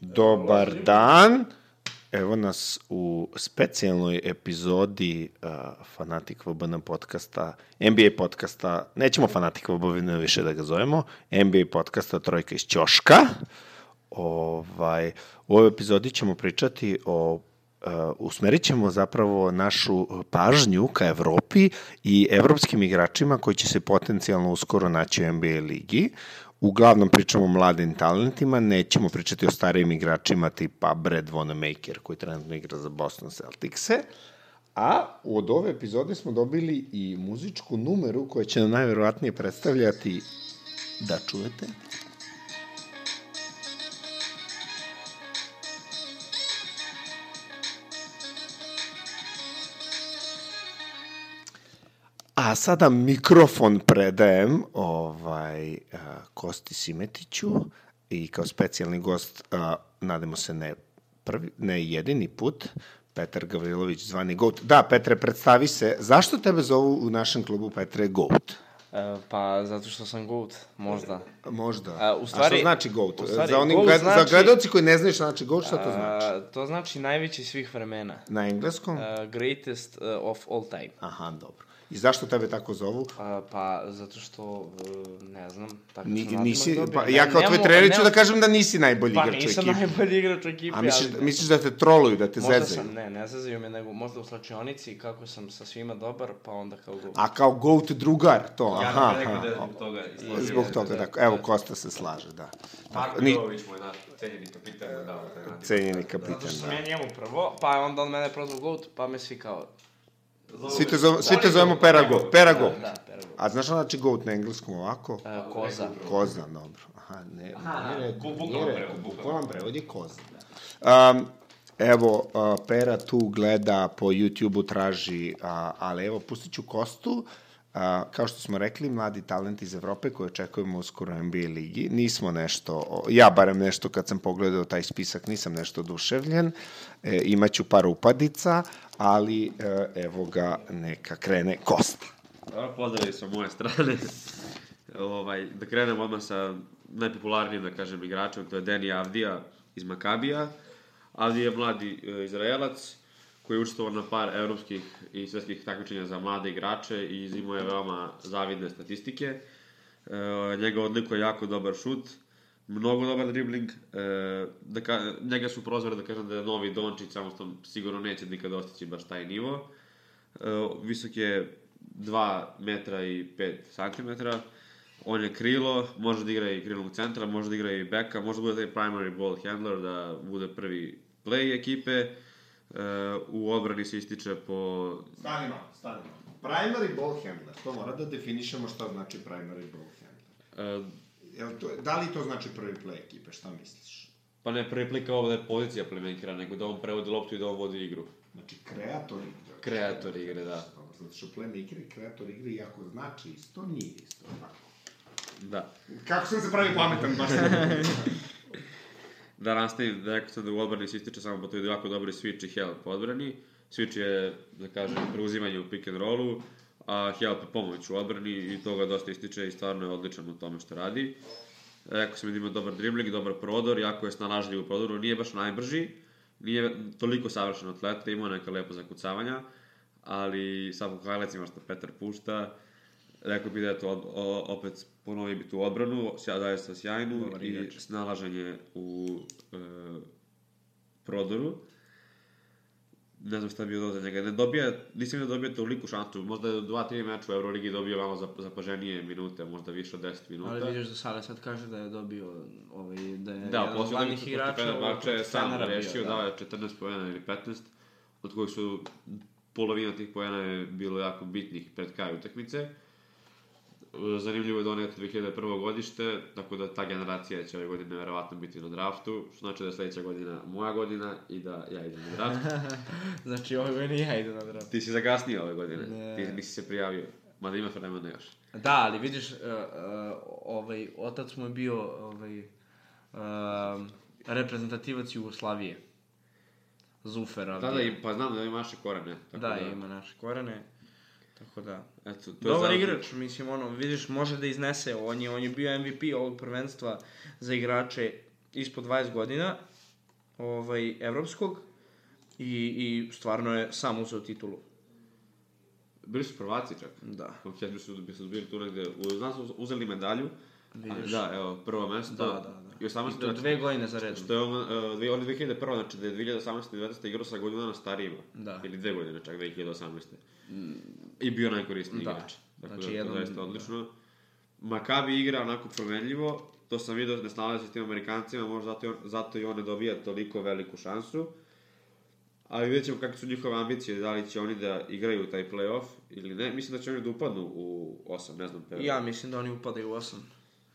Dobar dan. Evo nas u specijalnoj epizodi uh, Fanatik VBN podcasta, NBA podcasta, nećemo Fanatik VBN više da ga zovemo, NBA podcasta Trojka iz Ćoška. Ovaj, u ovoj epizodi ćemo pričati o Uh, usmerit ćemo zapravo našu pažnju ka Evropi i evropskim igračima koji će se potencijalno uskoro naći u NBA ligi. Uglavnom pričamo o mladim talentima, nećemo pričati o starijim igračima tipa Brad Wanamaker koji trenutno igra za Boston Celticse. A od ove epizode smo dobili i muzičku numeru koja će nam najverovatnije predstavljati da čujete. A sada mikrofon predajem ovaj, uh, Kosti Simetiću i kao specijalni gost, uh, nadamo se ne, prvi, ne jedini put, Petar Gavrilović, zvani Goat. Da, Petre, predstavi se. Zašto tebe zovu u našem klubu Petre Goat? E, Pa, zato što sam goat, možda. Možda. A, u stvari- A što znači GOAT? u stvari, za, onim goat gled, znači- za gledoci koji ne znaju šta znači GOAT, šta to znači? A, to znači najveći svih vremena. Na engleskom? E, greatest e, of all time. Aha, dobro. I zašto tebe tako zovu? A, pa, zato što, e, ne znam, tako Ni, sam nisi, nadimak dobio. pa, Ne, ja kao tvoj nemamo- trener ću nemam- da kažem da nisi najbolji Pa igrač u nisam ekipi. najbolji igrač u ekipi, A misliš, ali... misliš da te troluju, da te Možda zezaju? sam, ne, ne zezaju me, nego možda u slačionici kako sam sa svima dobar, pa onda kao goat. A kao goat drugar, to, Ja aha, bih rekao da je aha. zbog toga je- izložio. Zbog toga, da, evo, Kosta se slaže, da. Marko Ni- Jovović, moj naš cenjeni kapitan, mu dao taj nadimak. Cenjeni Zato kapitan, što sam ja da. njemu prvo, pa je onda on mene prozvao goat, pa me svi kao... Svi te, zove, svi te zovemo Perago, Perago. Da, pervo. A znaš šta znači goat na engleskom ovako? E, koza. Koza, dobro. Aha, ne, Aha, nije bu- rekao, bukvalan nije rekao, prevod, bukvalan. bukvalan prevod je koza. Da. Um, evo, uh, Pera tu gleda, po YouTube-u traži, uh, ali evo, pustit ću kostu. Uh, kao što smo rekli, mladi talent iz Evrope koje očekujemo uskoro u NBA ligi. Nismo nešto, o, ja barem nešto kad sam pogledao taj spisak, nisam nešto oduševljen. E, imaću par upadica, ali e, evo ga, neka krene kosta. Dobro, pozdravi sa moje strane. ovaj, da krenemo odmah sa najpopularnijim, da kažem, igračem, to je Deni Avdija iz Makabija. Avdija je mladi e, Izraelac koji je učestvovao na par evropskih i svetskih takmičenja za mlade igrače i imao je veoma zavidne statistike. E, njega odlikuje jako dobar šut, mnogo dobar dribling, e, da ka, njega su prozvali da kažem da je novi Dončić, samo što sigurno neće nikada ostići baš taj nivo. E, visok je 2 metra i 5 santimetra. On je krilo, može da igra i krilnog centra, može da igra i beka, može da bude taj primary ball handler, da bude prvi play ekipe. E, u odbrani se ističe po... Stanimo, stanimo. Primary ball handler, to mora da definišemo šta znači primary ball handler. E, Jel to, da li to znači prvi play ekipe, šta misliš? pa ne preplika ovo da je pozicija playmakera, nego da on prevodi loptu i da on vodi igru. Znači kreator igre. Kreator igre, da. Dobro, zato što playmaker i kreator igre jako znači isto, nije isto. Tako. Da. Kako sam se pravi pametan, baš sam. Da nastavim, da rekao sam da u odbrani se ističe samo po toj jako dobri switch i help po odbrani. Switch je, da kažem, preuzimanje u pick and rollu, a help je pomoć u odbrani i toga dosta ističe i stvarno je odličan u tome što radi. Rekao sam da ima dobar dribling, dobar prodor, jako je snalažljiv u prodoru, nije baš najbrži, nije toliko savršen atleta, ima neka lepa zakucavanja, ali samo highlights ima što Petar pušta, Rekao bih da je to od- o- opet ponovi bi tu odbranu, sja- daje sa sjajnu Dobar i igrač. snalaženje u e, prodoru. Ne znam šta bi dodao za njega. Ne dobija, nisam da dobija toliku šansu. Možda je u 2-3 meča u Euroligi dobio malo zap- zapaženije minute, možda više od 10 minuta. Ali vidiš da Sale sad kaže da je dobio ovaj, da je Da, jedan od posle glavnih utakmice protiv igrača Fenerbahče je protiv sam Fenera bio, da. rešio, dao je 14 poena ili 15, od kojih su polovina tih poena je bilo jako bitnih pred kraj utakmice. Zanimljivo je da on je 2001. godište, tako da ta generacija će ove godine verovatno biti na draftu, što znači da je sledeća godina moja godina i da ja idem na draft. Znači, ovo je ja ide na draft. Ti si zakasnio ove godine, Ne. ti nisi se prijavio, mada imaš vremena još. Da, ali vidiš, uh, uh, ovaj, otac mu je bio ovaj, uh, reprezentativac Jugoslavije. Zufer, Da, ali... da, i, pa znam da ima naše korene. da, Tako ima naše korene. Tako da... Eto, to je Dobar zajedno. igrač, mislim, ono, vidiš, može da iznese, on je, on je bio MVP ovog prvenstva za igrače ispod 20 godina ovaj, evropskog i, i stvarno je sam uzeo titulu. Bili su prvaci čak. Da. Ok, bi su, bi su bili tu negde, u, znam su uzeli medalju, ali Vidiš. da, evo, prvo mesto. Da, da, da. I 18. I to dve godine za redom. Što je on, uh, dvije- on je 2001. znači da je 2018. i 2019. igrao sa godinu dana starijima. Da. Ili dve godine čak, 2018. I bio najkorisniji Da. igrač. Dakle, Znači, znači, jedan- to zaista odlično. Makabi igra onako promenljivo, to sam vidio, ne snalazi se s tim Amerikancima, možda zato, i on- zato i on ne dobija toliko veliku šansu. Ali vidjet ćemo kakve su njihove ambicije, da li će oni da igraju taj play-off ili ne. Mislim da će oni da upadnu u 8, ne znam. Ja mislim da oni upadaju u osam.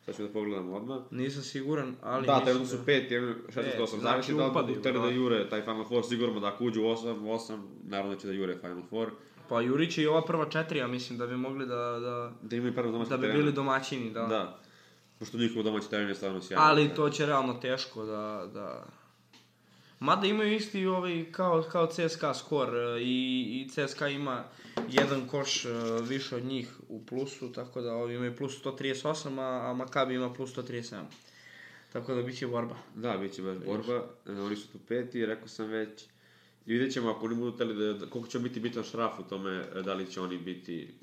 Sad ću da pogledam odmah. Nisam siguran, ali da, mislim trenutno su pet, jer 16, 8, Pet, zavisi znači da li upadaju, budu tere da da. jure taj Final Four, sigurno da ako uđu u 8, 8, naravno da će da jure Final Four. Pa Jurić je i ova prva četiri, ja mislim da bi mogli da, da, Da imaju prvo domaće da bi bili domaćini, da. Da, pošto njihov domaći teren je stvarno sjajan. Ali to će realno teško da... da... Mada imaju isti ovaj, kao, kao CSKA skor e, i, i CSKA ima jedan koš e, više od njih u plusu, tako da ovi imaju plus 138, a, a Makabi ima plus 137. Tako da bit će borba. Da, bit će baš borba, e, oni su tu peti, rekao sam već. I vidjet ćemo ako oni budu teli da, da- koliko će biti bitan šraf u tome, e, da li će oni biti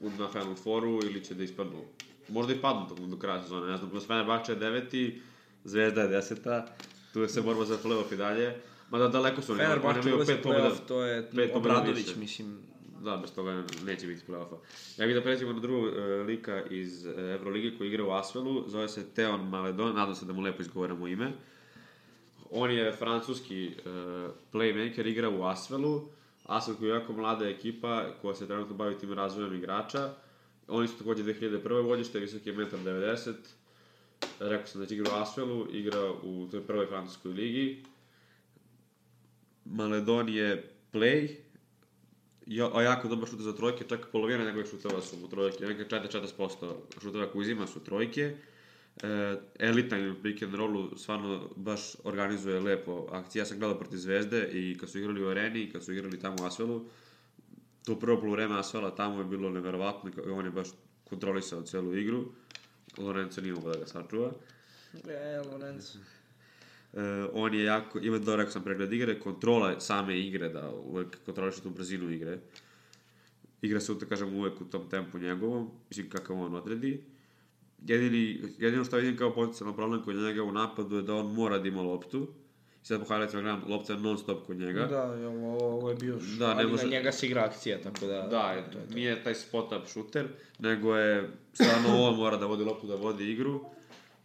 u- na Final Fouru ili će da ispadnu. Možda i padnu tokom do kraja sezone, ne znam, plus Fenerbahče je deveti, Zvezda je deseta, tu je se borba za play-off i dalje. Mada daleko su oni, oni Fenerbahče imaju ulazi pet u pobjeda. playoff, to je pet pobjeda Obradović, više. mislim. Da, bez toga neće biti play-offa. Ja bih da pređemo na drugog e, lika iz e, Evrolige koji igra u Asvelu, zove se Teon Maledon, nadam se da mu lepo izgovaramo ime. On je francuski e, playmaker, igra u Asvelu. Asvel koji je jako mlada ekipa koja se trenutno bavi tim razvojem igrača. Oni su takođe 2001. godište, visoki je 1,90 m. Rekao sam da će igra u Asvelu, igra u toj prvoj francuskoj ligi. Maledon je play, ja, a jako dobar šuter za trojke, čak polovina njegovih šuteva su u trojke, neka 40-40% šuteva koje uzima su trojke. E, elitan je u pick and rollu, stvarno baš organizuje lepo akcije. Ja sam gledao protiv Zvezde i kad su igrali u Areni i kad su igrali tamo u Asvelu, to prvo polovreme Asvela tamo je bilo neverovatno i on je baš kontrolisao celu igru. Lorenzo nije mogao da ga sačuva. E, Lorenzo. E, on je jako, ima da rekao sam pregled igre, kontrola same igre, da uvek kontroliše tu brzinu igre. Igra se, da kažem, uvek u tom tempu njegovom, mislim kakav on odredi. Jedini, jedino što vidim kao potencijalno problem kod njega u napadu je da on mora da ima loptu. I sad po highlightsima gledam, lopta je non stop kod njega. Da, ovo, ovo je bio š... Da, ne ali može- na njega se igra akcija, tako da... Da, je, nije taj spot up shooter, nego je stvarno on mora da vodi loptu, da vodi igru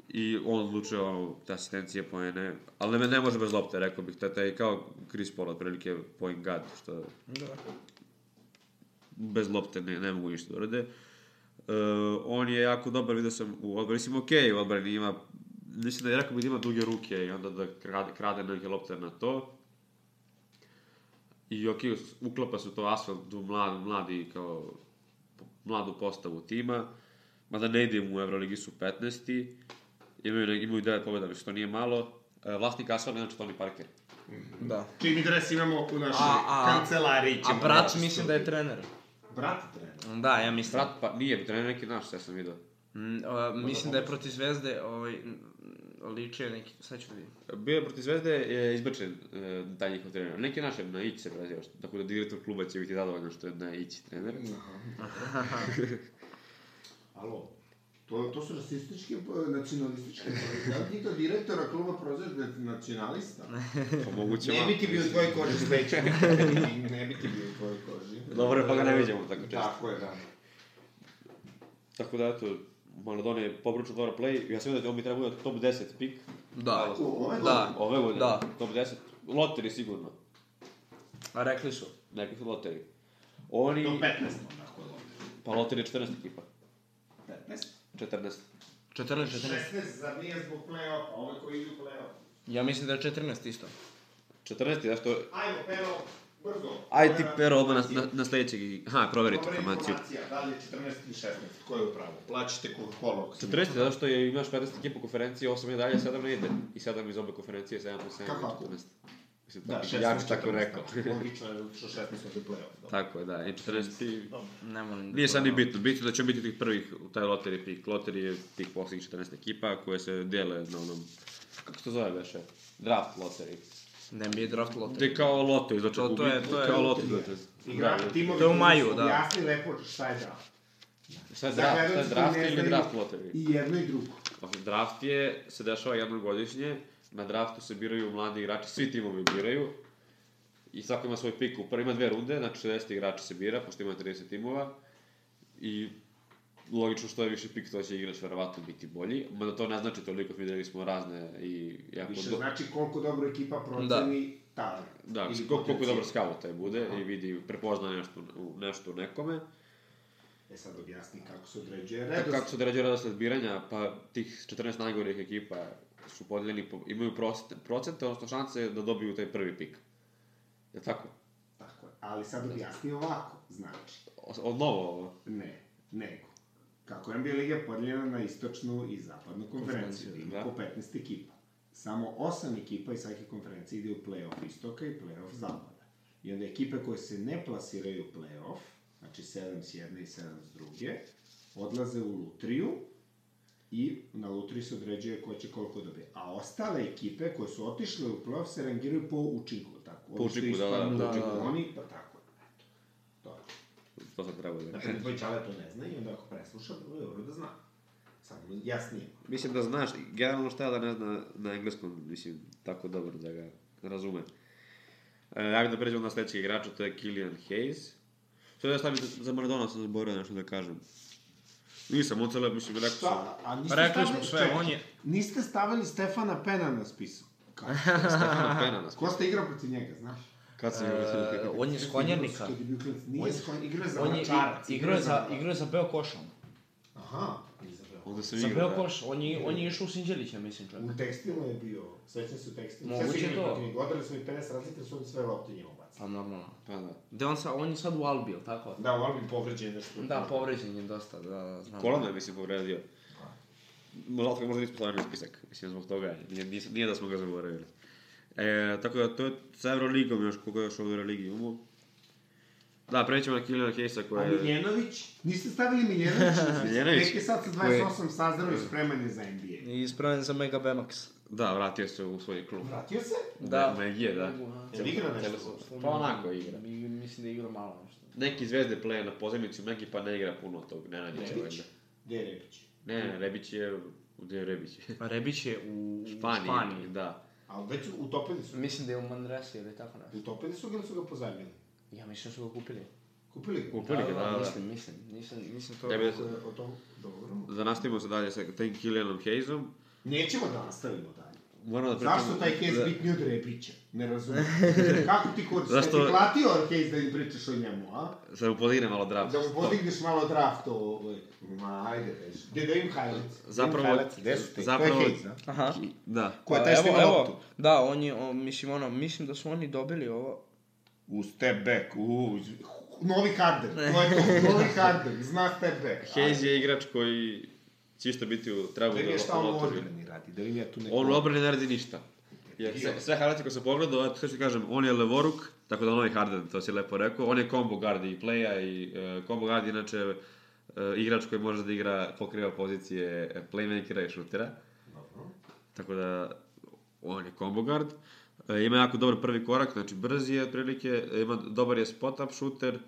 i on odlučuje ono, te asistencije poene, ali ne, ne može bez lopte, rekao bih, to je taj kao Chris Paul, otprilike point guard, što da. bez lopte ne, ne mogu ništa da urade. Uh, on je jako dobar, vidio sam u odbrani, mislim, okej, u odbrani ima, mislim da je rekao bih da ima duge ruke i onda da krade, krade neke lopte na to. I okej, uklapa se u to asfalt, tu mlad, mladi, kao, mladu postavu tima, mada ne idem u Euroligi su 15. Imaju, ne- imaju 9 pobjeda, mislim, to nije malo. E, vlasnik asfalta, inače Tony Parker. da. Čini dres imamo u našoj A, a- kancelariji. A ćemo brat reći, mislim da je trener. Brat trener. Da, ja mislim. Brat, pa nije, trener neki naš, sve sam vidio. Mm, a, mislim da je protiv Zvezde ovaj, m, ličio neki, sad ću da vidim. Bio je protiv Zvezde je izbačen e, taj njihov trener. Neki naš je na Ić se prezio, što- tako da direktor kluba će biti zadovoljan što je na Ić trener. Alo, to, to su rasističke, eh, nacionalističke poruke. Da li ti to direktora kluba prozveš da je nacionalista? Pa moguće Ne malo. bi ti bio u tvojoj koži sveća. Ne bi ti bio u tvojoj koži. Dobro, pa ga Da. ne vidimo tako često. Tako je, da. Tako da, eto, Maradona je pobručio dobro play. Ja sam vidio da on bi trebao biti top 10 pik. Da, U, ovaj ove da. Ove godine, Da. top 10. Loteri sigurno. A rekli su. Neki su loteri. Oni, Do 15 onako je pa loteri je 14 ekipa. dobro. 15? 14. 14, 14. 16, zar nije zbog play-offa, ove koji idu u play-off? Ja mislim da je 14 isto. 14, da što... Ajmo, pero, brzo. Aj ti pero odmah na, na, na sledećeg... Aha, proveri tu Dobra informaciju. informacija, da li je 14 ili 16, ko je u pravu? Plaćite Coca-Cola. ako se- 40, zato što je, imaš 15 ekipa konferencije, 8 je dalje, 7 ne ide. I 7 iz obe konferencije, 7 plus 7 je Kako? 14. Mislim, Da, tako, 16, ja bih tako 14, rekao. da. Logično je što 16 od play-off. dobro. tako je, da, i 40... Ne moram. da- Nije sad ni bitno, bitno je da će biti tih prvih, taj loteri pik. Loteri je tih poslednjih 14 ekipa koje se dele na onom, kako se to zove beše? Draft lottery. Ne, da mi je draft lottery. Gde kao loto, znači To- to je- to je kao loteri. loto. Igra, timovi To je u maju, da. Jasni lepo šta je draft. Šta je Za draft, šta je gledaoce draft koji ne ili znaju draft lottery? da I jedno i drugo. Dakle, draft je, se dešava jednom godišnje, na draftu se biraju mladi igrači, svi timovi biraju, i svako ima svoj pik, u prvi ima dve runde, znači 60 igrača se bira, pošto ima 30 timova, i logično što je više pik, to će igrač verovatno biti bolji, mada to ne znači toliko, videli smo razne i jako Više Da, do- znači koliko dobro ekipa proceni talent. Da, Ili mislim, koliko, koliko potencijal. dobro skavo taj bude i vidi, prepozna nešto u, nešto u nekome. E sad objasni kako se određuje Kako, redosled. E, kako se određuje redosled biranja, pa tih 14 najgorih ekipa su podeljeni, po, imaju proste, procente, odnosno šanse da dobiju taj prvi pik. Je li tako? Tako je. Ali sad objasni ovako, znači, O- Od novo ovo. ne, nego. Kako je NBA Liga podeljena na istočnu i zapadnu konferenciju, ima da. po 15 ekipa. Samo 8 ekipa iz svake konferencije ide u play-off istoka i play-off zapada. I onda ekipe koje se ne plasiraju u play-off, znači 7 s jedne i 7 s druge, odlaze u lutriju i na lutriji se određuje ko će koliko dobije. A ostale ekipe koje su otišle u play-off se rangiraju po učinku, tako? Po Ovi što učinku, da, da, ispadnu da, u da, učinku, da. Oni, pa tako. Eto. Dobro. To sam trebao da... Dakle, tvoj čale to ne zna i onda ako presluša, bilo je dobro da zna. Samo jasnije. Mislim da znaš, generalno šta da ne zna na engleskom, mislim, tako dobro da ga razume. E, ajde da pređemo na sledećeg igrača, to je Killian Hayes. Sve da stavim za- za Maradona, sam zaboravio nešto da kažem. Nisam, on celo, mislim, rekao sam. a niste Rekli smo sve, čekaj, on je... Niste stavili Stefana Pena na spisu. Kako? Stefana Pena nas. Ko ste igrao protiv njega, znaš? Kad sam e, ga on je skonjernika. Kad je bio klinac, nije skon, igrao je za On je mačarac. i- igrao je za, igrao je za Beokošan. Aha, nije za Beograd. Onda sam Za igrao, da. Beokoš, on je, on je išao u Sinđelića, mislim čovjek. U tekstilu je bio, sećam se u tekstilu. Moguće Sve su igrali to. protiv njega, Odrali smo i 50 razlike, su oni sve lopte njemu bacili. Pa normalno. Pa da. Gde on sa, on je sad u Albi, jel tako? Da, u Albi povređen je nešto. Da, povređen je dosta, da, da, znam. Kolano je, mislim, povredio. Zlatko možda nismo stavili na spisak, mislim, zbog toga. je. Nije, nije, nije da smo ga zaboravili. E, tako da, to je sa Euroligom još, koga još ovdje Euroligi imamo. Da, prećemo na Kiliana Hayesa A koja je... Miljenović? Niste stavili Miljenovića? Miljenović? Neki sad sa 28 sazrao i spreman je za NBA. I ispravljen za Mega Bemax. Da, vratio se u svoj klub. Vratio se? Da. Megije, da. Jel igra nešto? Pa onako igra. Mi, mislim da igra malo nešto. Neki zvezde pleje na pozemicu, Megi pa ne igra puno tog, ne nađe se Rebić? valjda. Gde je Rebić? Ne, ne, Rebić je... Gde je Rebić? Rebić je u U Španiji. Španiji, da. A već su- utopili su. Mislim da je u Manresi ili tako nešto. Utopili su ga ili su ga pozajmili? Ja mislim da su ga kupili. Kupili ga? Kupili ga, da, da. Mislim, mislim. Nisam, nisam to... Ja bi- Kako je o tom? Dobro. Da nastavimo se dalje sa tim Kilianom Haysom. Nećemo da nastavimo dalje. Moramo da Zašto taj Hayes da- bitniji od Rebića? Ne razumem. Kako ti kod Zašto... Zašto- ti platio Hayes da im pričaš o njemu, a? Da mu podigne malo draft. Da mu podigneš malo draft o... o- Ma, ajde, već. Gde da im highlights? Zapravo- Da im highlights, gde su ti? zapravo- To je Hayes, da? Aha. Pa Da. Koja taj što loptu? da, on je, on, mislim, ono, mislim da su oni dobili ovo. U step back, u... Novi Harden, to je to, novi Harden, zna step back. Hayes je igrač koji će isto biti u tragu Da da vidim šta lopta on u lotari. odbrani radi, da vidim ja tu neku... On u obrani ne radi ništa. Jer sve, sve highlights koje sam pogledao, eto sve što kažem, on je levoruk, tako da on je Harden, to si lepo rekao. On je combo guard i playa i e, combo guard je inače e, igrač koji može da igra, pokriva pozicije e, playmakera i šutera. Tako da, on je combo guard. E, ima jako dobar prvi korak, znači brz je otprilike, e, ima dobar je spot up shooter.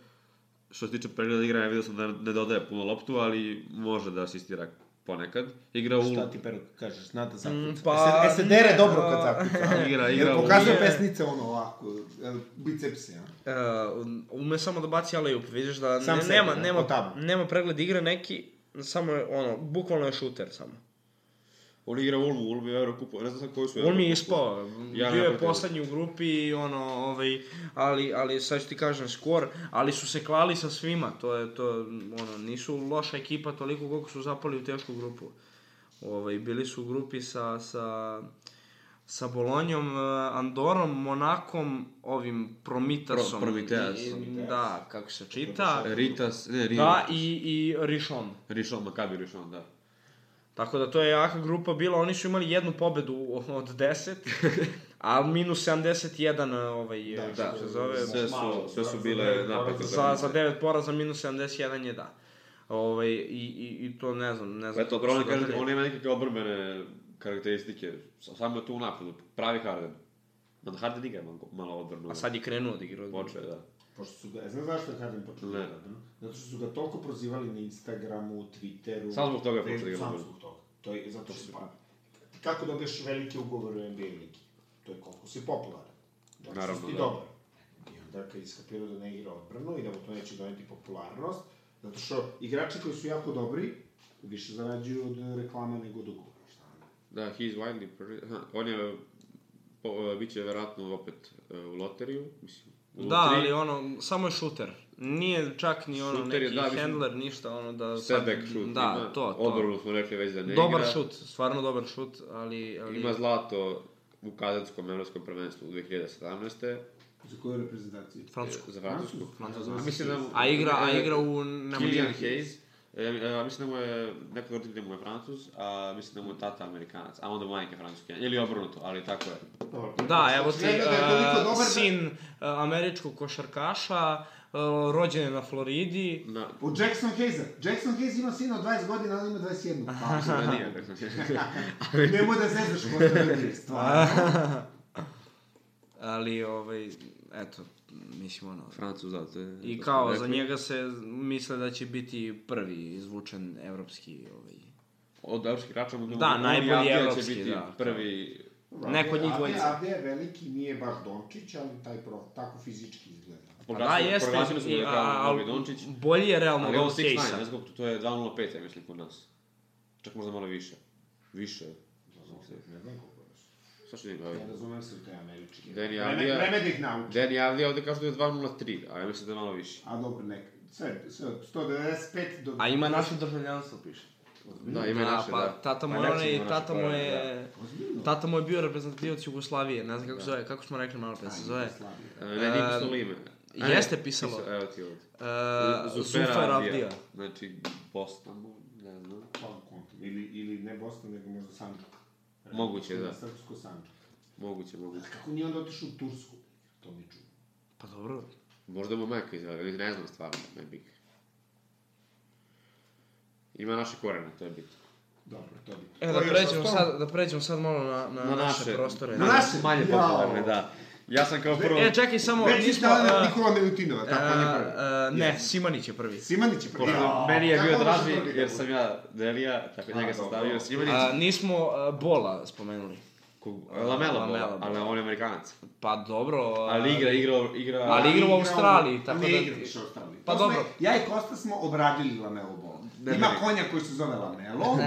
Što se tiče pregleda igra, ja vidio sam da ne dodaje puno loptu, ali može da asistira ponekad. Igra u... Šta ti pero kažeš, zna da zakuca. Mm, pa, e, se, e, se dere ne, dobro a- kad zakuca. a? Igra, igra Jer u... pokazuje nije. pesnice ono ovako, e, bicepse, a? Uh, ume samo da baci alley-oop, vidiš da Sam ne, sebi, nema, da, nema, od tamo. nema pregled igre neki, samo je ono, bukvalno je šuter samo. On igra Ulmu, Ulmu je Eurokupu, ne znam sad koji su On mi je Eurokupu. ispao, Ja bio ne je protiv. poslednji u grupi i ono, ovaj, ali, ali sad ću ti kažem skor, ali su se klali sa svima, to je, to, je, ono, nisu loša ekipa toliko koliko su zapali u tešku grupu. Ovaj, bili su u grupi sa, sa, sa Bolonjom, eh, Andorom, Monakom, ovim Promitasom. Pro- Promiteas. I- i- Da, kako se čita. Ritas, ne, Ritas. Da, i, i Rishon. Rišon, Makabi Rišon, da. Tako da to je jaka grupa bila, oni su imali jednu pobedu od 10, a minus 71 ovaj, da, da. da. se zove, Sve su, sve da, su bile napete. za, za 9 poraza minus 71 je da. Ovaj, i, i, I to ne znam, da ne znam. Eto, kako odbrana su kaže, dobili. on ima nekakve obrmene karakteristike. Sa- Samo je tu u napadu, pravi Harden. Mada Harden igra malo, malo odbranu. A sad je krenuo da igra odbranu. počeo, je, da. Pošto su ga, ja znam zašto je Harden počeo Ne. da igra odbranu. Zato što su ga toliko prozivali na Instagramu, Twitteru. Samo zbog toga je počeo da Facebooku, igra Samo odbranu. zbog toga. To je zato što si pa... Kako dobiješ velike ugovore u NBA ligi? To je koliko si popularan. Da li Naravno, si ti da. dobar. I onda kad iskapiraju da ne igra odbranu i da mu to neće doneti popularnost, zato što igrači koji su jako dobri, više zarađuju od reklama nego od ugovora. Šta ne? Da, he's winding. prvi- Aha, on je, po, e, bit će verovatno opet e, u loteriju, mislim. u Da, loteriji. ali ono, samo je šuter. Nije čak ni ono Šuter je, neki da, mislim, handler, ništa, ono da... sad- Setback shoot Da, ima. to, to. Odbranu smo rekli već da ne dobar igra. šut, stvarno dobar šut, ali... ali... Ima zlato u kanadskom evropskom prvenstvu u 2017. Za koju reprezentaciju? Francusku. e, za Francusku. Francusku. A mislim da mu- A igra, a e, igra u... da- na Killian Monaku. Hayes, e, e, a mislim da mu je, neko roditelj mu je francus, a mislim da mu je tata amerikanac, a onda majka francuskinja, ili obrnuto, ali tako je. Dobro. Da, evo ti, Očigledno da je toliko e, dobar da- sin e, američkog košarkaša, e, rođen je na Floridi. Na, U Jackson Hayesa. Jackson Hayes ima sina od 20 godina, on ima 21. Pa, da nije, kako sam nemoj da zezdaš ko se vidi, stvarno. Ali, ovaj, eto, mislim, ono... Francus, da, to je... I to kao, smo za rekli. njega se misle da će biti prvi izvučen evropski, ovaj... Od evropskih igrača mu Da, najbolji evropski, će biti da. prvi... Neko od njih dvojice. dvojica. Avde je veliki, nije baš Dončić, ali taj pro, tako fizički izgleda. Da, jeste. Proglasili smo i- ga a- kao al- Novi Dončić, Bolji je realno od ali je on ovog 6'9", ne Casea. znam koliko, to je 2.05, ja mislim, kod nas. Čak možda malo više. Više. Ne znam koliko je. Šta ću ti gledati? Ne razumem se u te američke. Danny Vreme, Avdija- vreme da ih nauči. Deni Avdija ovde kaže da je 2.03, a ja mislim da je malo više. A dobro, nek. Sve, sve, od 195 do... A ima naše državljanstvo, piše. Da, ima i Da, naše, pa da. tata mu Pa je naše onaj, ima naše, tata mu pa da, je... Ozbiljno? Tata mu je bio reprezentativac Jugoslavije, ne znam kako se zove, kako smo rekli malo pre, Da, se zove. Slavije. E, Ne, nije pisalo ime. A ne, e, jeste pisalo. pisa- Evo ti ovde. Uh, Zufer Avdija. Znači, Bosna, ne znam. Hvala kontu. Ili, ili ne Bosna, nego možda Sandžak. Moguće, da. Srpsko Sandžak. Moguće, moguće. Kako nije onda otišao u Tursku? To mi čuo. Pa dobro. Možda mu je majka izvela, ili ne znam stvarno, ne bih. Ima naše korene, to je bitno. Dobro, to bi. E, da pređemo sad, da pređemo sad malo na, na, Na naše, naše. prostore. Na naše? Manje Jao. popularne, da. Ja sam kao prvo... E, čekaj samo, Već nismo... nismo... Već da. e, Nikola Milutinova, tako on je prvi. e, e, ne, Simanić je prvi. Simanić je prvi. Pošto Jao, meni je kako bio možeš draži, prvi da jer budeš? sam ja Delija, tako njega sam dobro. stavio Simanić. A, nismo e, Bola spomenuli. Kog- Lamela, Lamela Bola, Bola. ali on je amerikanac. Pa dobro... a- Ali igra, igra, igra... Ali igra u Australiji, on tako da... Ne igra više u Australiji. Pa To smo- dobro. Ja i Kosta smo obradili Lamelo Ball. Ne, Ima ne. konja koji se zove Lamelo.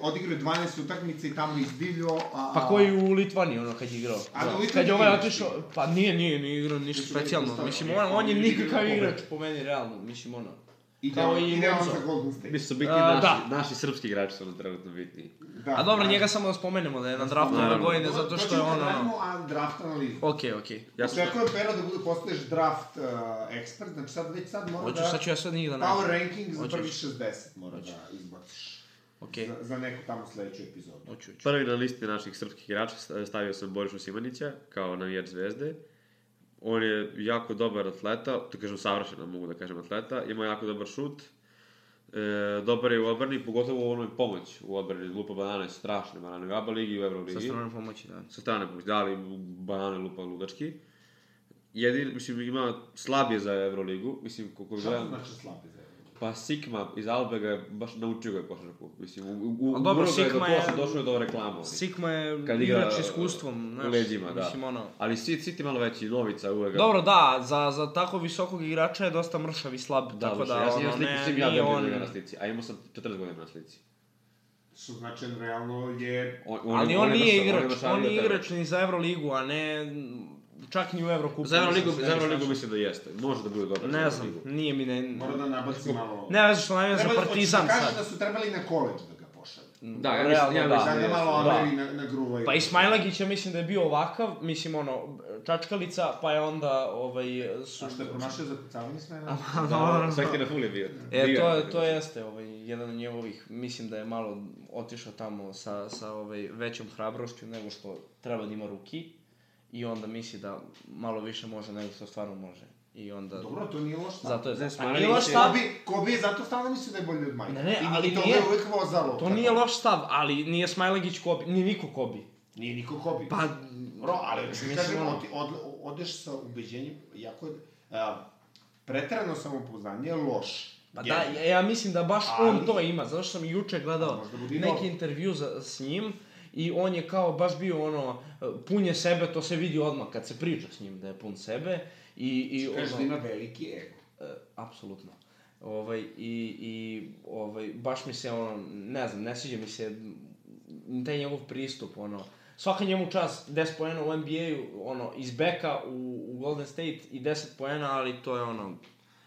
Odigrao je 12 utakmica i tamo izbivljao. A, Pa koji u Litvaniji, ono, kad je igrao. A Da. u Litvaniji Kad je ovaj igraš otišao, pa nije, nije, nije igrao ništa Nisu bili specijalno. postavljeni. Mislim, on, on Oni je nikakav igraju igrač po meni, realno. Mislim, ono. Ide, kao i ide on Lonzo. za Golden State. Mislim su bitni A, naši, da. naši srpski igrači su nam trenutno bitni. Da, A dobro, da. njega samo da spomenemo da je na draftu ove Naravno. godine, To- zato to što je ćemo ono... kad radimo, ono- da A draft analizu. Okej, okej. Ja sam... Očekujem pera da bude postaješ draft uh, ekspert, znači sad već sad mora Hoću, da... sad ću ja sve njih da Power nađem. ranking za Hoću, prvi hoću. 60 mora da izbaciš. Okej, Za, za neku tamo sledeću epizodu. hoću, hoću. Prvi na listi naših srpskih igrača stavio sam Borišu Simanića kao navijač zvezde. On je jako dobar atleta, to kažem savršeno mogu da kažem atleta, ima jako dobar šut, e, dobar je u obrani, pogotovo u onoj pomoć u obrani, lupa banane, strašne banane u ABA ligi i u Sa Euroligi. strane pomoći, da. sa strane pomoć, da li banane lupa ludački. Jedin, mislim, ima slabije za Euroligu, mislim, koliko Šta to gledam... znači slabi za Pa Sikma iz Albega je baš naučio ga je košarku. Mislim, u, u, u A dobro, gurao ga je do Sikma koša, je- došao je do reklama. Sigma je Kad igra, igrač iskustvom, u znaš. leđima, da. Mislim, ono... Ali Sid, Sid je malo veći, novica uvek. ga- Dobro, da, za, za tako visokog igrača je dosta mršav i slab, da, tako da, ja sam imao ono, sliku ne, s tim ja nije dobio on... njega na slici, a imao sam 14 godina na slici. Što znači, on realno je... On, Ali je- on, je nije mršav, igrač, mršaviji on od nije tebe. igrač ni za Euroligu, a ne čak ni u Eurokupu. Za Euroligu, mislim, za ne Euroligu znam. mislim da jeste, može da bude dobro. za Ne znam, Euroligu. nije mi ne... Mora da nabaci malo... Ne veze što nam je za Trebali- Partizan hoćeš da kažeš sad. da su trebali na koleđ da ga pošalju. Da, ja mislim, Realno, ja da. mislim Da ga jeste. malo da. omeri na, na gruva. Pa Ismailagić ja mislim da je bio ovakav, mislim ono, čačkalica, pa je onda ovaj... Su... A što je promašio za kucavanje smena? Da, Sve ti na ful je bio. E, Bio to, je, to jeste ovaj, jedan od njegovih, mislim da je malo otišao tamo sa, sa ovaj, većom hrabrošću nego što treba da ima ruki i onda misli da malo više može nego što stvarno može. I onda... Dobro, to nije loš stav. Zato je Ne, zato. smanjili nije loš se- stav, Ko bi, ko bi zato stalno mislio da je bolji od Majka. Ne, ne, I- ali I to nije- ga je uvijek vozalo. to nije loš stav, ali nije Smajlegić Kobi, ni niko Kobi. Nije niko ko bi. Pa, Bro, ali mislim, da mislim, kažem, ono- od, od, odeš sa ubeđenjem, jako je... a, preterano samopouzdanje je loš. Pa da, Generalno. ja, ja mislim da baš Ali- on to ima, zato što sam juče gledao Možda bude i neki novi. intervju za, s njim i on je kao baš bio ono, e, pun je sebe, to se vidi odmah kad se priča s njim da je pun sebe i, i Kažeš da ono, ima veliki ego. e, apsolutno. Ovaj, i, i ovaj, baš mi se ono, ne znam, ne sviđa mi se m, taj njegov pristup, ono, svaka njemu čas 10 poena u NBA-u, ono, iz beka u, u Golden State i 10 poena, ali to je ono,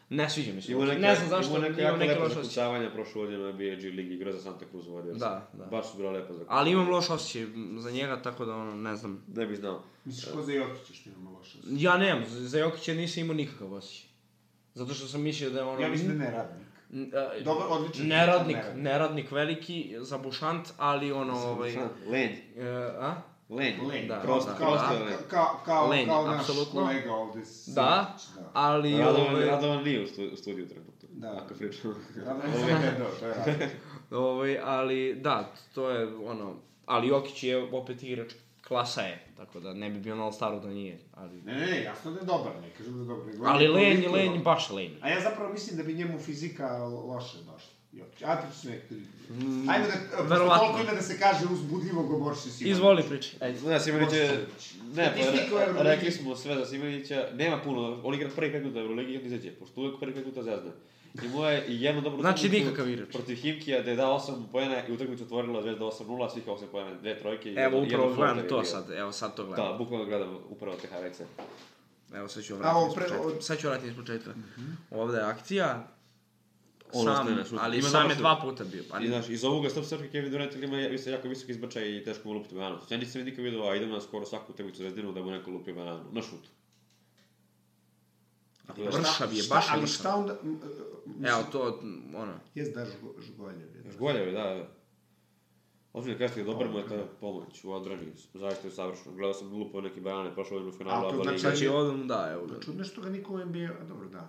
ne sviđa mi se. Imao uopšte. neke, Ne znam zašto, imao neke imam jako neki lepo loš osjećaj. zakucavanja prošle godine na BG ligi, igrao za Santa Cruz Warriors. Da, da. Baš su bila lepa zakucavanja. Ali imam loš osjećaj za njega, tako da ono, ne znam. Ne bi znao. Misliš ko za Jokića što imamo loš osjećaj? Ja nemam, za za Jokića nisam imao nikakav osjećaj. Zato što sam mislio da je ono... Ja mislim da je neradnik. N- a, Dobar, odličan. Neradnik, Neradnik. neradnik veliki, zabušant, ali ono, ovaj... Šta? Lenj. e, a? Lenj. Lenj. Da, Kao, da, kao, da. kao, kao, kao, Lenj, kao naš apsolutno. kolega ovde. Simić, Da, ali... Radovan, ovaj, Radovan nije u, stu, u studiju trenutno. Da. Ako pričamo. Radovan se ne gledao, to je razlika. Ovaj, ali da, to je ono, ali Jokić je opet igrač klasa je, tako da ne bi bio na All-Staru da nije, ali... Ne, ne, ne, jasno da je dobar, ne kažem da je dobar. nego on Ali je lenj, pa- toliko- lenj, baš lenj. A ja zapravo mislim da bi njemu fizika loše baš. Jokić. Ajde, priču nek tri. Ajde da, pošto Mm. verovatno. toliko ima da se kaže uzbudljivo goborši si. Izvoli priči. Da, Simanić je... Ne, pa Statistika u re, Euroligi. rekli smo sve za Simanića, nema puno, on igra prvi pet minuta u Euroligi i on izađe, pošto uvek prvi pet minuta zazna. I moje i jednu dobru Znači, utakmicu nikakav igrač. Protiv Himkija, da je dao 8 poena i utakmicu otvorila Zvezda 8-0, svih 8 poena, dve trojke i Evo, jedan- upravo jedan gledam floater to je bio. sad, evo sad to gledam. Da, bukvalno gledam upravo te highlights. Evo sad ću A, vratiti ovo iz pre- Mhm. početka. ovo- Sad ću vratiti iz početka. Ovde je akcija. On Sam, ostaje na šutu. ali Ima sam dobar je šut. dva puta bio. Pa I ne, znaš, iz ovoga stop srke Kevin Durant ili ima ja- isto jako visok izbačaj i teško mu lupiti bananu. Ja nisam nikad vidio, a idem na skoro svaku utakmicu Zvezdinu da mu neko lupi bananu, na šutu. Tako da, vršav je, baš je Ali vršav. šta onda... Evo, to, ono, Jes da žgo- žgolje. bre. Žgoljev je, da, da. Ozbiljno kažete je dobar mu je ta pomoć u odbrani, zaista je savršeno. Gledao sam lupao neke banane prošle godine u finalu A, to ABA znači- lige. znači ovde mu da, evo. ga. Čudno je što ga niko u NBA... A dobro, da.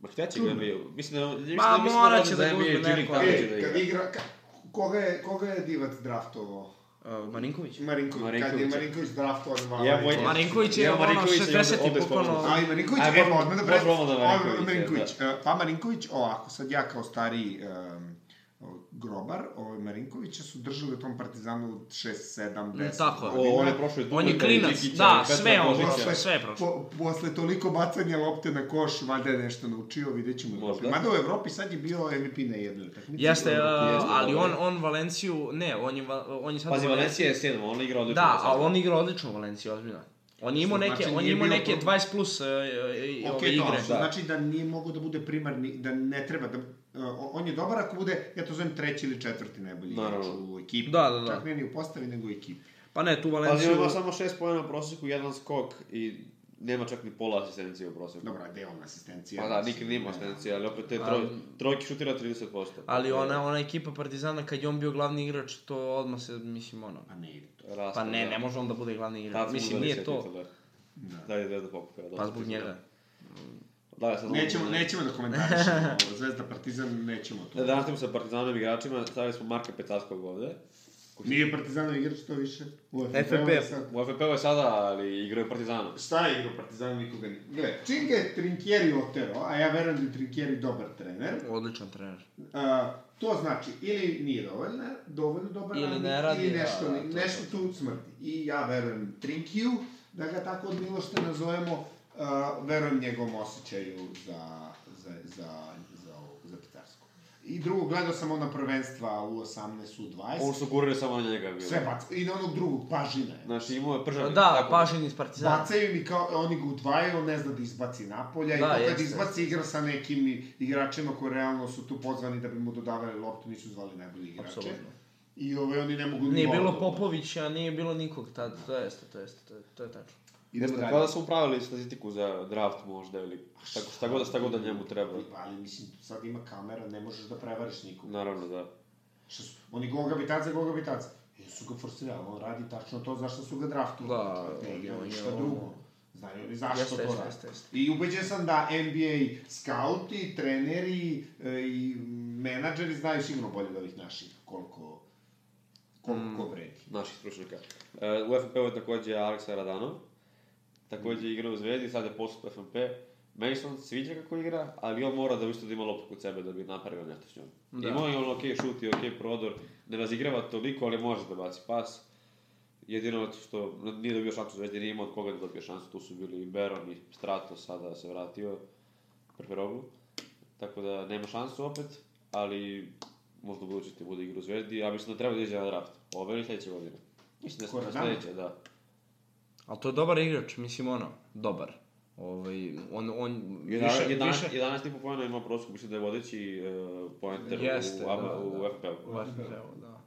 Ma htja će ga bio, mislim da je on... mislim Ma, da- mislim da morat radi će za da ga NBA uzme G League, neko. tako će da E, kad igra. igra... ka- Koga je, koga je divac draftovao? Uh, Marinković? Marinković. Kad je Marinkovića. Marinković draftovao dva... Pa, Ja, moj- Marinković je Ja, ono Marinković je 60 i ovde bukvalno- spomenuo. Ali Marinković, A, je možemo- moramo odmah da preći. možemo odmah na Marinkovića, da. Ovo, Marinković. E, Pa Marinković, ovako, sad ja kao stariji em, o, grobar, ovaj Marinkovića su držali u tom Partizanu od 6, 7, 10 Mm, tako je. godina. O, on je prošao i On je Dubravka i klinac, Đikića, da, Petra sve je on Božića. prošao, sve je prošao. Po, posle toliko bacanja lopte na koš, valjda je nešto naučio, vidjet ćemo. Možda. Mada u Evropi sad je bio MVP na jednoj utakmici. Jeste, uh, jeste, ali dobro. on, on Valenciju, ne, on je, va- on je sad... Pazi, u Valenciji- Valencija je sedma, on igra odlično. Da, ali on igra odlično u Valenciji, ozbiljno. On je imao Znači, neke, on je nije imao bio neke problem. 20 plus uh, i- i- Ok, ove to, igre. što Da. znači da nije mogao da bude primarni, da ne treba da... uh, on je dobar ako bude, ja to zovem treći ili četvrti najbolji igrač Naravno. u ekipi. Da, da, da. Čak ne ni u postavi, nego u ekipi. Pa ne, tu Pazi, on Valenciju... ima samo šest pojena u prosjeku, jedan skok i nema čak ni pola asistencije u prosjeku. Dobra, gde je on asistencija? Pa da, nikad nije imao asistencije, ali opet te troj, trojke šutira 30%. Ali ona, ona ekipa Partizana, kad je on bio glavni igrač, to odmah se, mislim, ono... Pa ne ide to. Pa ne, ne može on da bude glavni igrač. Mislim, nije to. Da je Zvezda pokupila. Pa zbog njega. Da, ja sad... Nećemo, nećemo da komentarišemo ovo, Zvezda Partizan, nećemo to. Da, danas smo sa partizanovim igračima, stavili smo Marka Petacskog ovde. Nije Partizanov igrač to više. U FFP. je sad- U FPV je sada, ali igrao je Partizanom. Šta je igrao Partizan nikoga nije? Gle, čim ga je Trinkieri otero, a ja verujem da je Trinkieri dobar trener, Odličan trener. a, to znači ili nije dovoljno, dovoljno dobar Ili radnik, ne radi, ili da, nešto, da, ne- to je nešto to. tu smrti. I ja verujem Trinkiju, da ga tako od Milošte nazovemo, a, verujem njegovom osjećaju za, za, za, za, ovo, za Pitarsku. I drugo, gledao sam ona prvenstva u 18, u 20, Ovo su gurili samo na njega. Bilo. sve bac, i na onog drugog, Pažina je. Znači, imao je pržan. Da, Pažin iz Partizana. Bacaju mi kao, oni ga udvajaju, on ne zna da izbaci napolja Da, da, i to kad jeste, izbaci igra sa nekim i- igračima koji realno su tu pozvani da bi mu dodavali loptu, nisu zvali najbolji igrače. Apsolutno. I ove, oni ne mogu... ni Nije malo bilo da- Popovića, nije bilo nikog tad, to jeste, to jeste, to je, to je tačno. Idemo dalje. Kao da su upravili statistiku za draft možda ili šta, šta, god, šta god da njemu treba. Ali, pa, ali mislim, tu sad ima kamera, ne možeš da prevariš nikog. Naravno, da. Šta su, oni goga bi taca, goga bi taca. E, su ga forsirali, on radi tačno to zašto su ga draftu. Da, ne igra on je ništa ono- drugo. Znaju li zašto Jeste, to jeste, rade. jeste, jeste. I ubeđen sam da NBA skauti, treneri e, i menadžeri znaju sigurno bolje od ovih naših koliko, Mm. koliko vredi. naših stručnjaka. E, u FNP-u je takođe Aleksa Radanov, takođe igra u Zvezdi, sad je posao FNP. Meni se on sviđa kako igra, ali on mora da isto da ima loptu kod sebe da bi napravio nešto s njom. Da. Da. Imao je on okej šut i okej prodor, ne razigrava toliko, ali može da baci pas. Jedino je što nije dobio šansu u Zvezdi, nije imao od koga da dobije šansu, tu su bili i Beron i Strato, sada se vratio, Preferoglu. Tako da nema šansu opet, ali možda u budućnosti bude igra u Zvezdi. Ja mislim da treba da iđe na draft. Ove ili sledeće godine? Mislim da je Koradama? sledeće, da. Ali to je dobar igrač, mislim ono, dobar. Ovaj, on, on, Više, više, 11, više, 11,5 pojena ima prosku, mislim da je vodeći uh, poenter Jeste, u, da, ABA u da. FPL. Baš mi treba, da.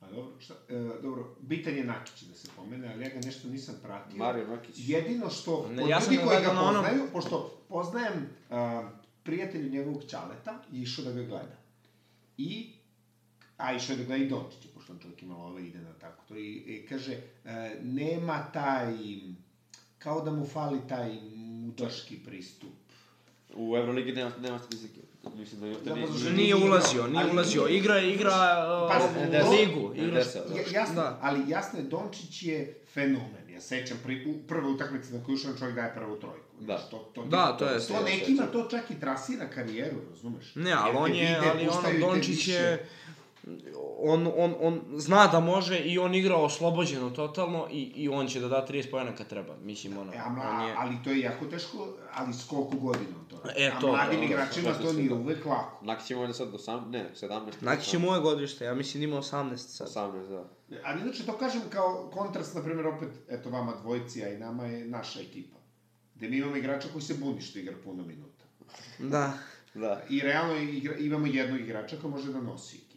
A dobro, šta, e, dobro, bitan je Nakić da se pomene, ali ja ga nešto nisam pratio. Mario Nakić. Jedino što, Ne, ne, od ja ja sam ljudi ga koji ga gledao na onom- poznaju, pošto poznajem uh, prijatelju njegovog Ćaleta i išao da ga gleda. I, a išao je da gleda i Dončića, pošto on čovjek ima love, ide na tako to. I, i kaže, uh, nema taj, kao da mu fali taj mudaški pristup. U Euroligi nema, nema statistike. Mislim da je Da, da, nije... zato što nije- Nije ulazio, nije Ali- ulazio. Igra je, igra Pazi, ovu ne desa. ligu. Ne Igra, desa, da. Ja, jasno, da. Da. ali jasno je, Dončić je fenomen. Ja sećam pri, u prvoj utakmici na koju ušao čovjek daje prvu trojku. Da. Znaš, To, to, Da, to je- To nekima to čak i trasira karijeru, razumeš? Ne, ali Jer on te je, vide, ali ono, puštaju te Dončić više. je, on, on, on zna da može i on igra oslobođeno totalno i, i on će da da 30 pojena kad treba. Mislim, ono, E, a on mla, je... ali to je jako teško, ali s koliko godina on to radi? E, to, a da, mladim da, igračima to to se nije da. uvek lako. Nakić ima ovdje sad 18, ne, 17. Nakić je moje godište, ja mislim da ima 18 sad. 18, da. Ali inače to kažem kao kontrast, na primjer, opet, eto vama dvojci, a i nama je naša ekipa. Gde mi imamo igrača koji se buni što igra puno minuta. Da. Da. I realno igra, imamo jednog igrača koji može da nosi ekipu.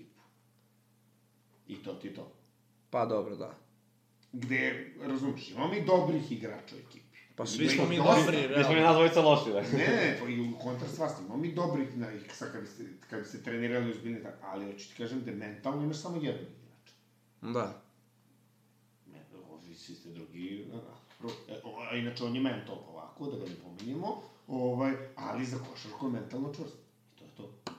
I to ti je to. Pa dobro, da. Gde, razumiješ, imamo mi dobrih igrača u ekipi. Pa Ima svi smo ih mi dosta. dobri, Mi smo i realno. nas dvojica loši, da. Ne, ne, ne, to i u kontrast vas, imamo mi dobrih, na, sad kad bi se, kad bi se trenirali uzbiljni, tako, ali hoću ti kažem da mentalno imaš samo jednog igrača. Da. Ne, ovi svi ste drugi, a, a, a, a inače on je mental ovako, da ga ne pominjemo, ovaj, ali za košarku je mentalno čvrst. I to je to.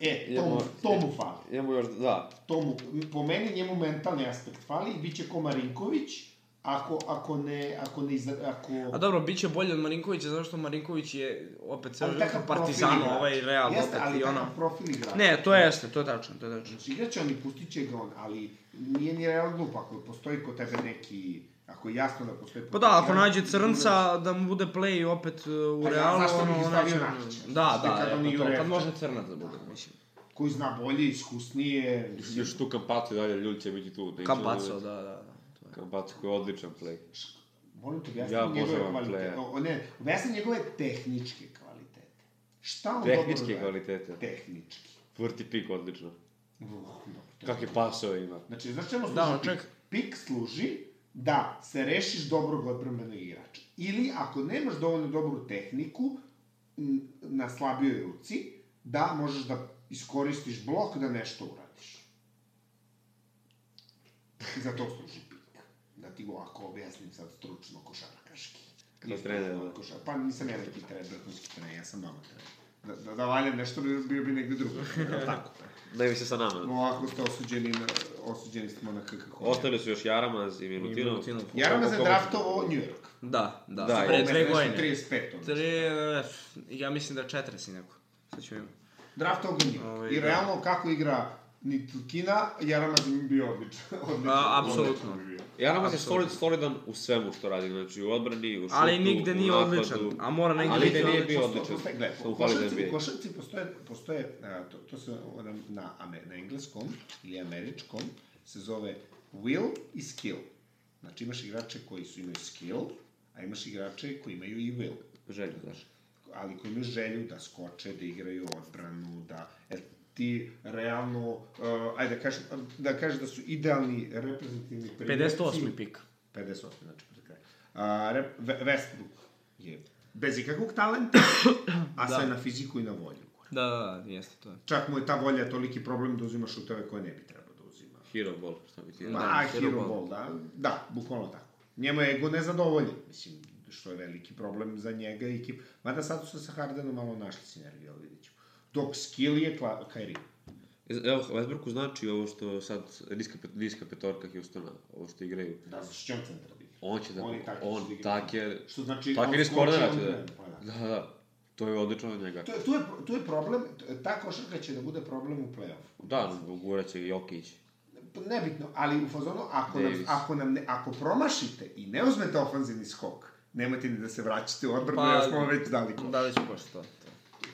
E, to mu, to mu fali. Imamo još, da. tomu, po meni njemu mentalni aspekt fali i bit će ko Marinković, ako, ako ne, ako ne, izra, ako... A dobro, bit će bolje od Marinkovića, zato što Marinković je opet ceo ali takav život profil partizan, igrača. ovaj real, Jeste, opet ali i ono... takav profil igrača. Ne, to jeste, to je tačno, to je tačno. Znači, igraće on i pustit će ga on, ali nije ni real glup, ako postoji kod tebe neki, ako je jasno da postoji... Pa da, ako potencijal, nađe crnca, da mu bude play opet e, u Pa ja, realu, zašto bi ih ono, stavio neće... Rakića? Da, Šta da, kad e, on pa igra to, kad Rakića? može crnac da bude, mislim. Koji zna bolje, iskusnije, mislim, Još tu Kampacu i dalje, ljudi će biti tu. neće Kampaco, da- da, da, da. to je. Kampacu koji je odličan play. molim te Ja objasni njegove obožavam kvalitete, playa. o, ne, objasni njegove tehničke kvalitete. Šta on dobro Tehničke radi? kvalitete. Tehnički. Vrti pik odlično. Uf, dobro, to je Kakve pasove ima. Znači, znaš čemu služi Da, on pik? čak- Pik služi da se rešiš dobrog odbrambenog igrača. Ili, ako nemaš dovoljno dobru tehniku m, na slabijoj ruci, da možeš da iskoristiš blok da nešto uradiš. Za to služi pik. Da ti go, ako objasnim sad stručno košarkaški. Kao trener, da. Košar... Pa nisam ja neki trener, vrhunski trener, ja sam mama trener. Da, da, da valjam nešto, bio bi negde drugo. Jel tako. Ne bi Da se sa nama. Ovako ste osuđeni, na, osuđeni smo na KKK. Ostali su još Jaramaz i I Milutinov. Milutinov. Jaramaz je Koliko- draftovo New York. Da, da, Da, pre je. dve godine. 35. ono. Tri, e, f- ja mislim da četiri si neko. Sad ću imati. Draftovo ga New York. Ovaj, I da. realno kako igra ni Tukina, Jaramaz im bio odličan. odličan. A, apsolutno. Odličan bi bio. Jaramaz je Apsolutno. solid, solidan u svemu što radi, znači u odbrani, u šutu, Ali nigde nije u napadu. odličan, a mora negde Ali biti da nije odličan. bio Posto- odličan. postoje- gledaj, Samo u fali da je košarci- bio. U košarci postoje, postoje a, to, to se na, na, ame- na engleskom ili američkom se zove will i skill. Znači imaš igrače koji su imaju skill, a imaš igrače koji imaju i will. Želju, znaš. ali koji imaju želju da skoče, da igraju odbranu, da e, ti realno, uh, ajde da kažem, da kažem da su idealni reprezentativni primjerci. 58. pik. 58. znači pred kraj. A, rep, Ve- Westbrook je bez ikakvog talenta, a sve na fiziku i na volju. Da, da, da, jeste to. je. Čak mu je ta volja toliki problem da uzima šuteve koje ne bi trebao da uzima. Hero ball, šta bi ti Ma, rekao. da, hero hero ball. ball, da. Da, bukvalno tako. njemu je ego nezadovoljen. Mislim, što je veliki problem za njega i ekip. Mada sad su se sa Hardenom malo našli sinergiju, ali vidjet ćemo. Dok skill je Kla- Kyrie. Evo, Westbrooku znači ovo što sad, niska, pet- niska petorka Houstona, ovo što igraju. Da, za što će on centar da igra? On će da, On on, i Tucker će da igra. on Taker, Što znači... Taker on iz skoči, kornera on će da, krene, pa da. da, da, to je odlično od njega. To, je- tu, je, tu je problem, ta košarka će da bude problem u play-offu. Da, gurat će Jokić. nebitno, ali u fazonu, ako, nam, Davis. ako, nam ne, ako promašite i ne uzmete ofanzivni skok, nemojte ni da se vraćate u odbranu, Pa- pa, jer smo vam već dali koš. Da li su pošto to?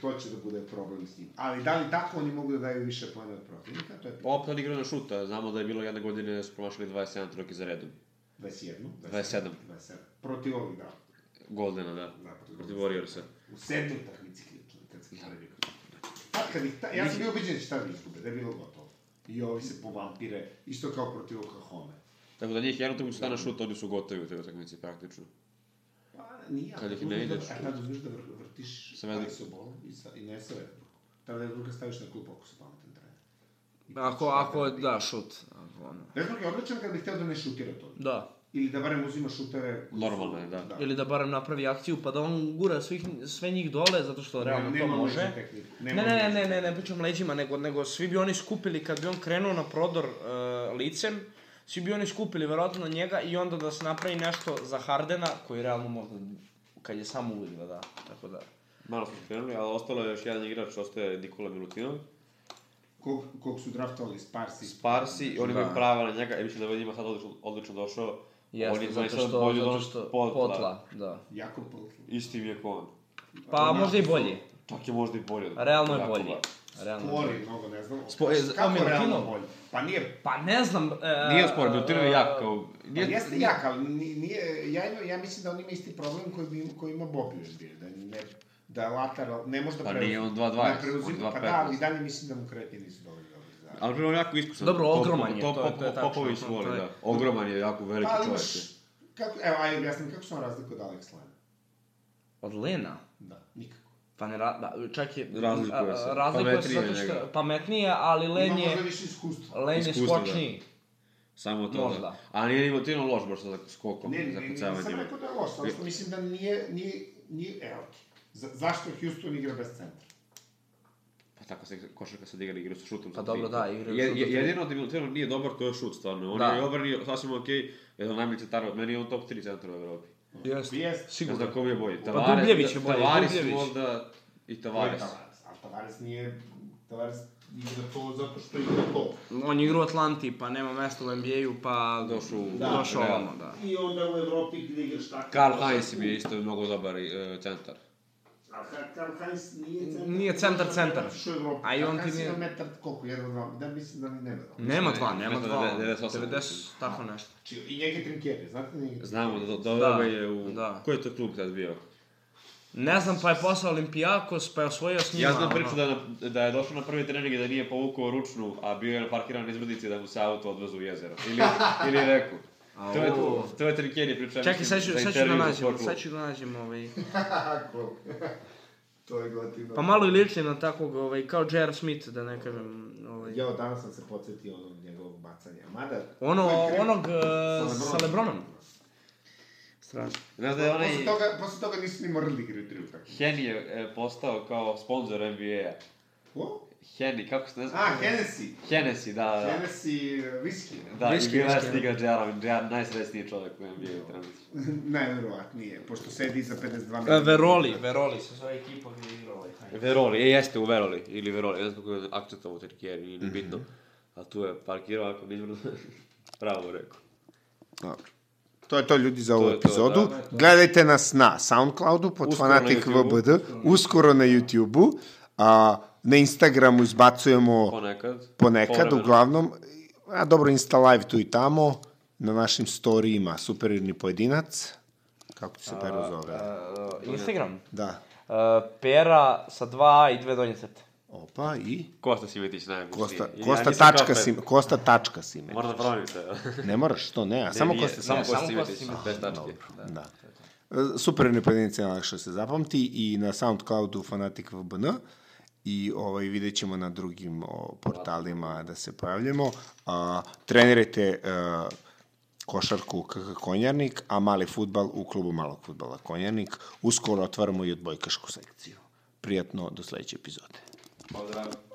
To će da bude problem s njim. Ali da li tako oni mogu da daju više pojene od protivnika, to je pitanje. Opet on igra na šuta, znamo da je bilo jedne godine da su promašili 27 trojke za redom. 21, 27. 27. Protiv ovih, da. Goldena, da, Da, protiv protiv Golden Warriorsa. U sedmoj takmici ključno, kad se poredio. Tad Pa, kad ih, ta, ja sam bio ubiđen da će tada izgube, da je bilo gotovo. I ovi se povampire, isto kao protiv Oklahoma. Tako da njih jednu utakmicu dana šut, oni su gotovi u toj utakmici praktično. Pa, nije. Kad ih ali ne uzmeš da- ideš. A tad uzmeš da vr- vrtiš sa Sa Westbrookom. Vestbrook i, sa, i ne sa Westbrookom. Tad Westbrooka staviš na klup ako su pametan trener. I Ako, šta ako, tad- da, šut. Ako, ono. Westbrook je odličan kad bi hteo da ne šutira to. Da. Ili da barem uzima šutere... koji su- Normalno je, da. Ili da barem napravi akciju, pa da on gura svih, sve njih dole, zato što realno to nema može. leđa tehniku. Ne, Nema ne, ne, leđa. ne, ne, ne pričam leđima, nego, nego svi bi oni skupili, kad bi on krenuo na prodor uh, licem, svi bi oni skupili verovatno na njega i onda da se napravi nešto za Hardena, koji realno možda, kad je sam uvidio, da, tako da. Malo smo krenuli, ali ostalo je još jedan igrač, ostaje Nikola Milutinov. Kog, kog su draftovali Sparsi. Sparsi, i oni Da. imaju prava na njega, i mislim da je njima sad odlično, odlično došao. Jeste, znaju zato sad što, bolje od zato onog što potla. Potla. da. Jako potlo. Isti im je ko on. Pa možda i bolje, Čak je možda i bolje. od- a realno je Jako bolje. bolje. Realno je bolje. Spori mnogo, ne znam. Spo- e, z- Kako Omer realno Kinov? bolje? Pa nije... Pa ne znam... e, Nije spor, Milutinov je jak, kao... Pa jeste jak, ali ni- nije, ja, ima, ja mislim da on ima isti problem koji, bi, koji ima Bobby u NBA, da ne, da lateral, ne može da Pa preuzme. nije on 2.20, Ne preuzima, on pa je 2.15. da, ali i dalje mislim da mu kretnje nisu dovoljno dobro za... Ali prvo jako iskusan. Dobro, Pop- ogroman je, Pop- to je- to je Pop- tačno, Popović to je- voli, da. Ogroman je, jako veliki Pa ali čovjek. imaš, kako, evo, ajde objasnim, kako su on razliku od Alex Lana? Od Lena? Da, nikako. Pa ne, ra, da, čak je... Razlikuje se. a, a, Razlikuje se Pametnije zato što njega. pametnije, ali Ima Len je... možda više iskustva. Len je Iskustvo, da. skočniji. Samo to, Možda. da. A nije Milutinov loš baš sa skokom, Ne, ne, za ne, nisam kucavanjima. rekao da je loš, ali što mislim da nije, nije, nije, evo ti. Za, zašto Houston igra bez centra? Pa tako se košarka sad igra, igra sa šutom. Pa sa dobro, tri. da, igraju Je, šutom je, tri. jedino da Milutinov nije dobar, to je šut, stvarno. On Da. je i obrani sasvim okej, jedan najbolji centar od meni je on top 3 centar u Evropi. Jeste. Jeste. Ne Sigurno. Pa znam kom je bolji. Dubljević je bolji, Tavares Dubljević. možda i Tavares. Tavares. Ali Tavares nije, Tavares igra to zato što igra to. On igra u Atlanti, pa nema mesta u NBA-u, pa Došao u- da, došao Real. ovamo, da. I onda u Evropi gde igraš tako. Karl Heinz mi je isto mnogo dobar e, centar. A Ka- Karl Heinz nije centar. Nije centar, centar. Zato što je Evropa. A i on ti Kakasina nije- metar, koliko, jedan, dva, da mislim da ni nema dva. Nema dva, ne, nema ne, dva. ne, 98, 90, tako nešto. Znači, i njega trinkjere, znate njega? Znamo da do, do, Da, da, je u... da. Koji je to klub tad bio? Ne znam, pa je posao Olimpijakos, pa je osvojio s njima. Ja znam ono. priču da, je na, da je došao na prvi trening i da nije povukao ručnu, a bio je na parkiran izbrdici da mu se auto odvezu u jezero. Ili, ili reku. To je, Au. to je Trinkjeri priča. Čekaj, mislim, sad ću, za sad ću da intervju za nađem, Sport klub. sad ću da nađem ovaj... Tako. to je gotivno. Pa malo i lični na takvog, ovaj, kao J.R. Smith, da ne kažem, ovaj... Jo, danas sam se podsjetio onog njegovog bacanja. Mada... Ono, to je kriv- onog eh, sa Lebronom. Strašno. Znaš da je onaj... Posle toga, posle toga nisu ni morali da igraju tri utakmice. Henny je e, postao kao sponsor NBA-a. Ko? Henny, kako se ne znam? A, Hennessy. Hennessy, da, da. Hennessy uh, whisky. Da, Whisky, i bila je whisky, stiga Džara, Džara najsrećniji čovjek u NBA-u trenutno. Najverovatnije, pošto sedi za 52 E, minuta. Veroli, Veroli se zove ekipa gdje je igrao ovaj. Veroli, e, jeste u Veroli, ili Veroli, ne znam kako je akcentovao Trinkjeri, nije ni bitno. A tu je parkirao, ako ne izbrdo, pravo rekao. Dobro. To je to ljudi za ovu je to, epizodu. da, Gledajte nas na SoundCloudu pod Uskoro uskoro na Fanatik YouTubeu. VBD, uskoro na YouTubeu, a na Instagramu izbacujemo Ponekad. ponekad, povremeno. uglavnom, a dobro Insta live tu i tamo, na našim storijima Superirni pojedinac, kako ti se pero zove? E, Instagram. E, Da. pera sa dva i dve donje crte. Opa, i Kosta Simetić najbolji. Kosta, Ja Kosta, nisam tačka, kapet. sim, Kosta tačka Sime. Moram da promijem se. Ne moraš to, ne, a samo Nije, Kosta Samo Sime. Kosta Samo Kosta Simetić, Simetić. bez tačke. Dobro, da. E, Super nepojedinice najlakše se zapamti i na Soundcloudu Fanatik VBN i ovaj, vidjet ćemo na drugim o, portalima da se pojavljamo. A, trenirajte e, košarku u KK Konjarnik, a mali futbal u klubu malog futbala Konjarnik. Uskoro otvaramo i odbojkašku sekciju. Prijatno do sledeće epizode. Pozdrav.